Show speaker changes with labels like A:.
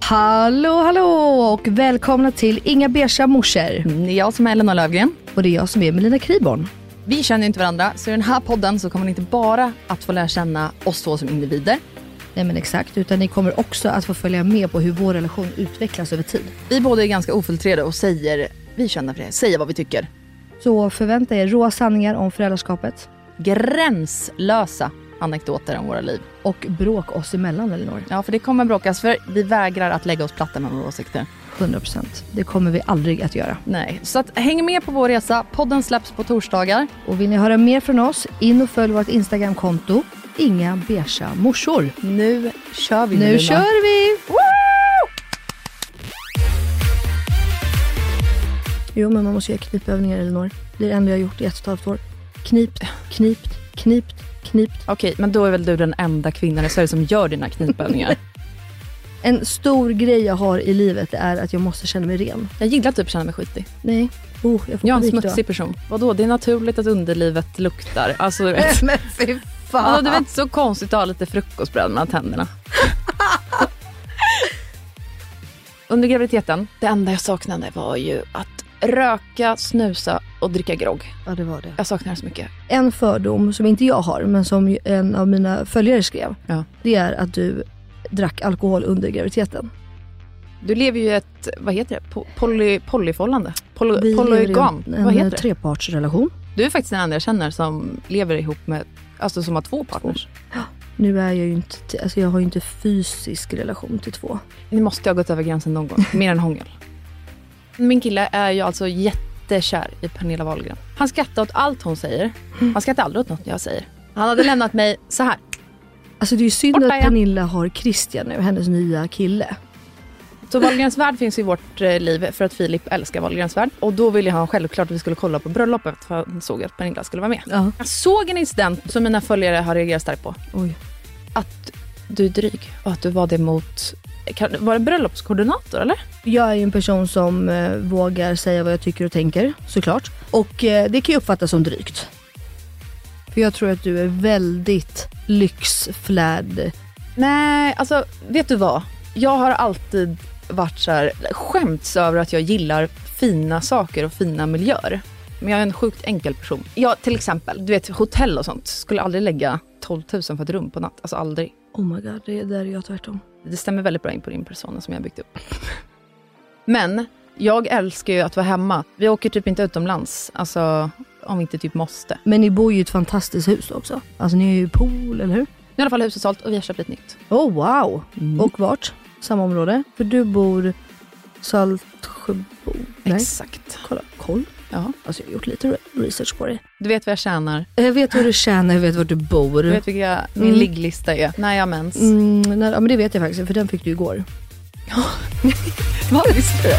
A: Hallå, hallå och välkomna till Inga beiga morsor.
B: Det är Mm, jag som är Elena Lövgren.
A: Och det är jag som är Melina Kriborn.
B: Vi känner ju inte varandra, så i den här podden så kommer ni inte bara att få lära känna oss två som individer.
A: Nej men exakt, utan ni kommer också att få följa med på hur vår relation utvecklas över tid.
B: Vi båda är ganska ofiltrerade och säger, vi känner för det, säger vad vi tycker.
A: Så förvänta er råa sanningar om föräldraskapet
B: Gränslösa anekdoter om våra liv.
A: och bråk oss emellan Elinor.
B: Ja, för det kommer bråkas, för vi vägrar att lägga oss platta med våra åsikter.
A: 100%. Det kommer vi aldrig att göra.
B: Nej, så att, häng med på vår resa. Podden släpps på torsdagar.
A: Och vill ni höra mer från oss, in och följ vårt Instagramkonto, Inga beiga morsor.
B: Nu kör vi
A: Nu
B: Melina.
A: kör vi! Jo, men man måste göra knipövningar Elinor. Det är det enda jag har gjort i ett och ett halvt år. Knipt, knipt, knipt, knipt.
B: Okej, men då är väl du den enda kvinnan i Sverige som gör dina knipövningar.
A: En stor grej jag har i livet är att jag måste känna mig ren.
B: jag gillar att typ känna mig skitig.
A: Nej, oh, jag får
B: Jag är en
A: panik då.
B: smutsig person. Vadå, det är naturligt att underlivet luktar. Alltså, du vet.
A: Men fy fan.
B: Alltså, det är väl inte så konstigt att ha lite frukostbröd mellan tänderna. Under graviditeten, det enda jag saknade var ju att röka, snusa och dricka grogg.
A: Ja, det var det.
B: Jag saknar det så mycket.
A: En fördom som inte jag har, men som ju en av mina följare skrev.
B: Ja.
A: Det är att du drack alkohol under graviditeten.
B: Du lever ju ett, vad heter det, Po- poly, polyförhållande? Poly,
A: Vi lever i
B: polygam?
A: en,
B: Vad
A: en
B: heter det?
A: trepartsrelation.
B: Du är faktiskt den enda jag känner som lever ihop med, alltså som har två partners.
A: Nu är jag ju inte, alltså jag har ju inte fysisk relation till två.
B: Ni måste ha gått över gränsen någon gång, mer än hångel. Min kille är ju alltså jättekär i Pernilla Wahlgren. Han skrattar åt allt hon säger. Han skrattar aldrig åt något jag säger. Han hade lämnat mig så här.
A: Alltså det är ju synd
B: Borta
A: att
B: igen.
A: Pernilla har Christian nu, hennes nya kille.
B: Så Wahlgrens värld finns i vårt eh, liv för att Filip älskar Wahlgrens värld. Och då ville han självklart att vi skulle kolla på bröllopet för han såg att Pernilla skulle vara med.
A: Ja.
B: Jag såg en incident som mina följare har reagerat starkt på.
A: Oj.
B: Att du är dryg och att du var det mot... kan- Var det bröllopskoordinator eller?
A: Jag är ju en person som eh, vågar säga vad jag tycker och tänker, såklart. Och eh, det kan ju uppfattas som drygt. För jag tror att du är väldigt lyxflärd.
B: Nej, alltså vet du vad? Jag har alltid varit så här, skämts över att jag gillar fina saker och fina miljöer. Men jag är en sjukt enkel person. Jag till exempel, du vet hotell och sånt, skulle aldrig lägga 12 000 för ett rum på natt. Alltså aldrig.
A: Oh my god, det är där är jag tvärtom.
B: Det stämmer väldigt bra in på din persona som jag har byggt upp. Men jag älskar ju att vara hemma. Vi åker typ inte utomlands, alltså om vi inte typ måste.
A: Men ni bor ju i ett fantastiskt hus också. Alltså ni är ju i pool, eller hur?
B: Nu är i alla fall huset sålt och vi har köpt ett nytt.
A: Oh wow!
B: Mm.
A: Och vart? Samma område? För du bor Saltsjöbo? Nej,
B: Exakt.
A: kolla. Koll.
B: Ja.
A: Alltså jag har gjort lite re- research på det.
B: Du vet vad jag tjänar.
A: Jag Eh, vet hur du tjänar, jag vet var du bor.
B: Du vet vilka min
A: Mm.
B: ligglista är. När jag har mens.
A: Mm, nej, ja, men det vet jag faktiskt, för den fick du igår.
B: Vad visste du?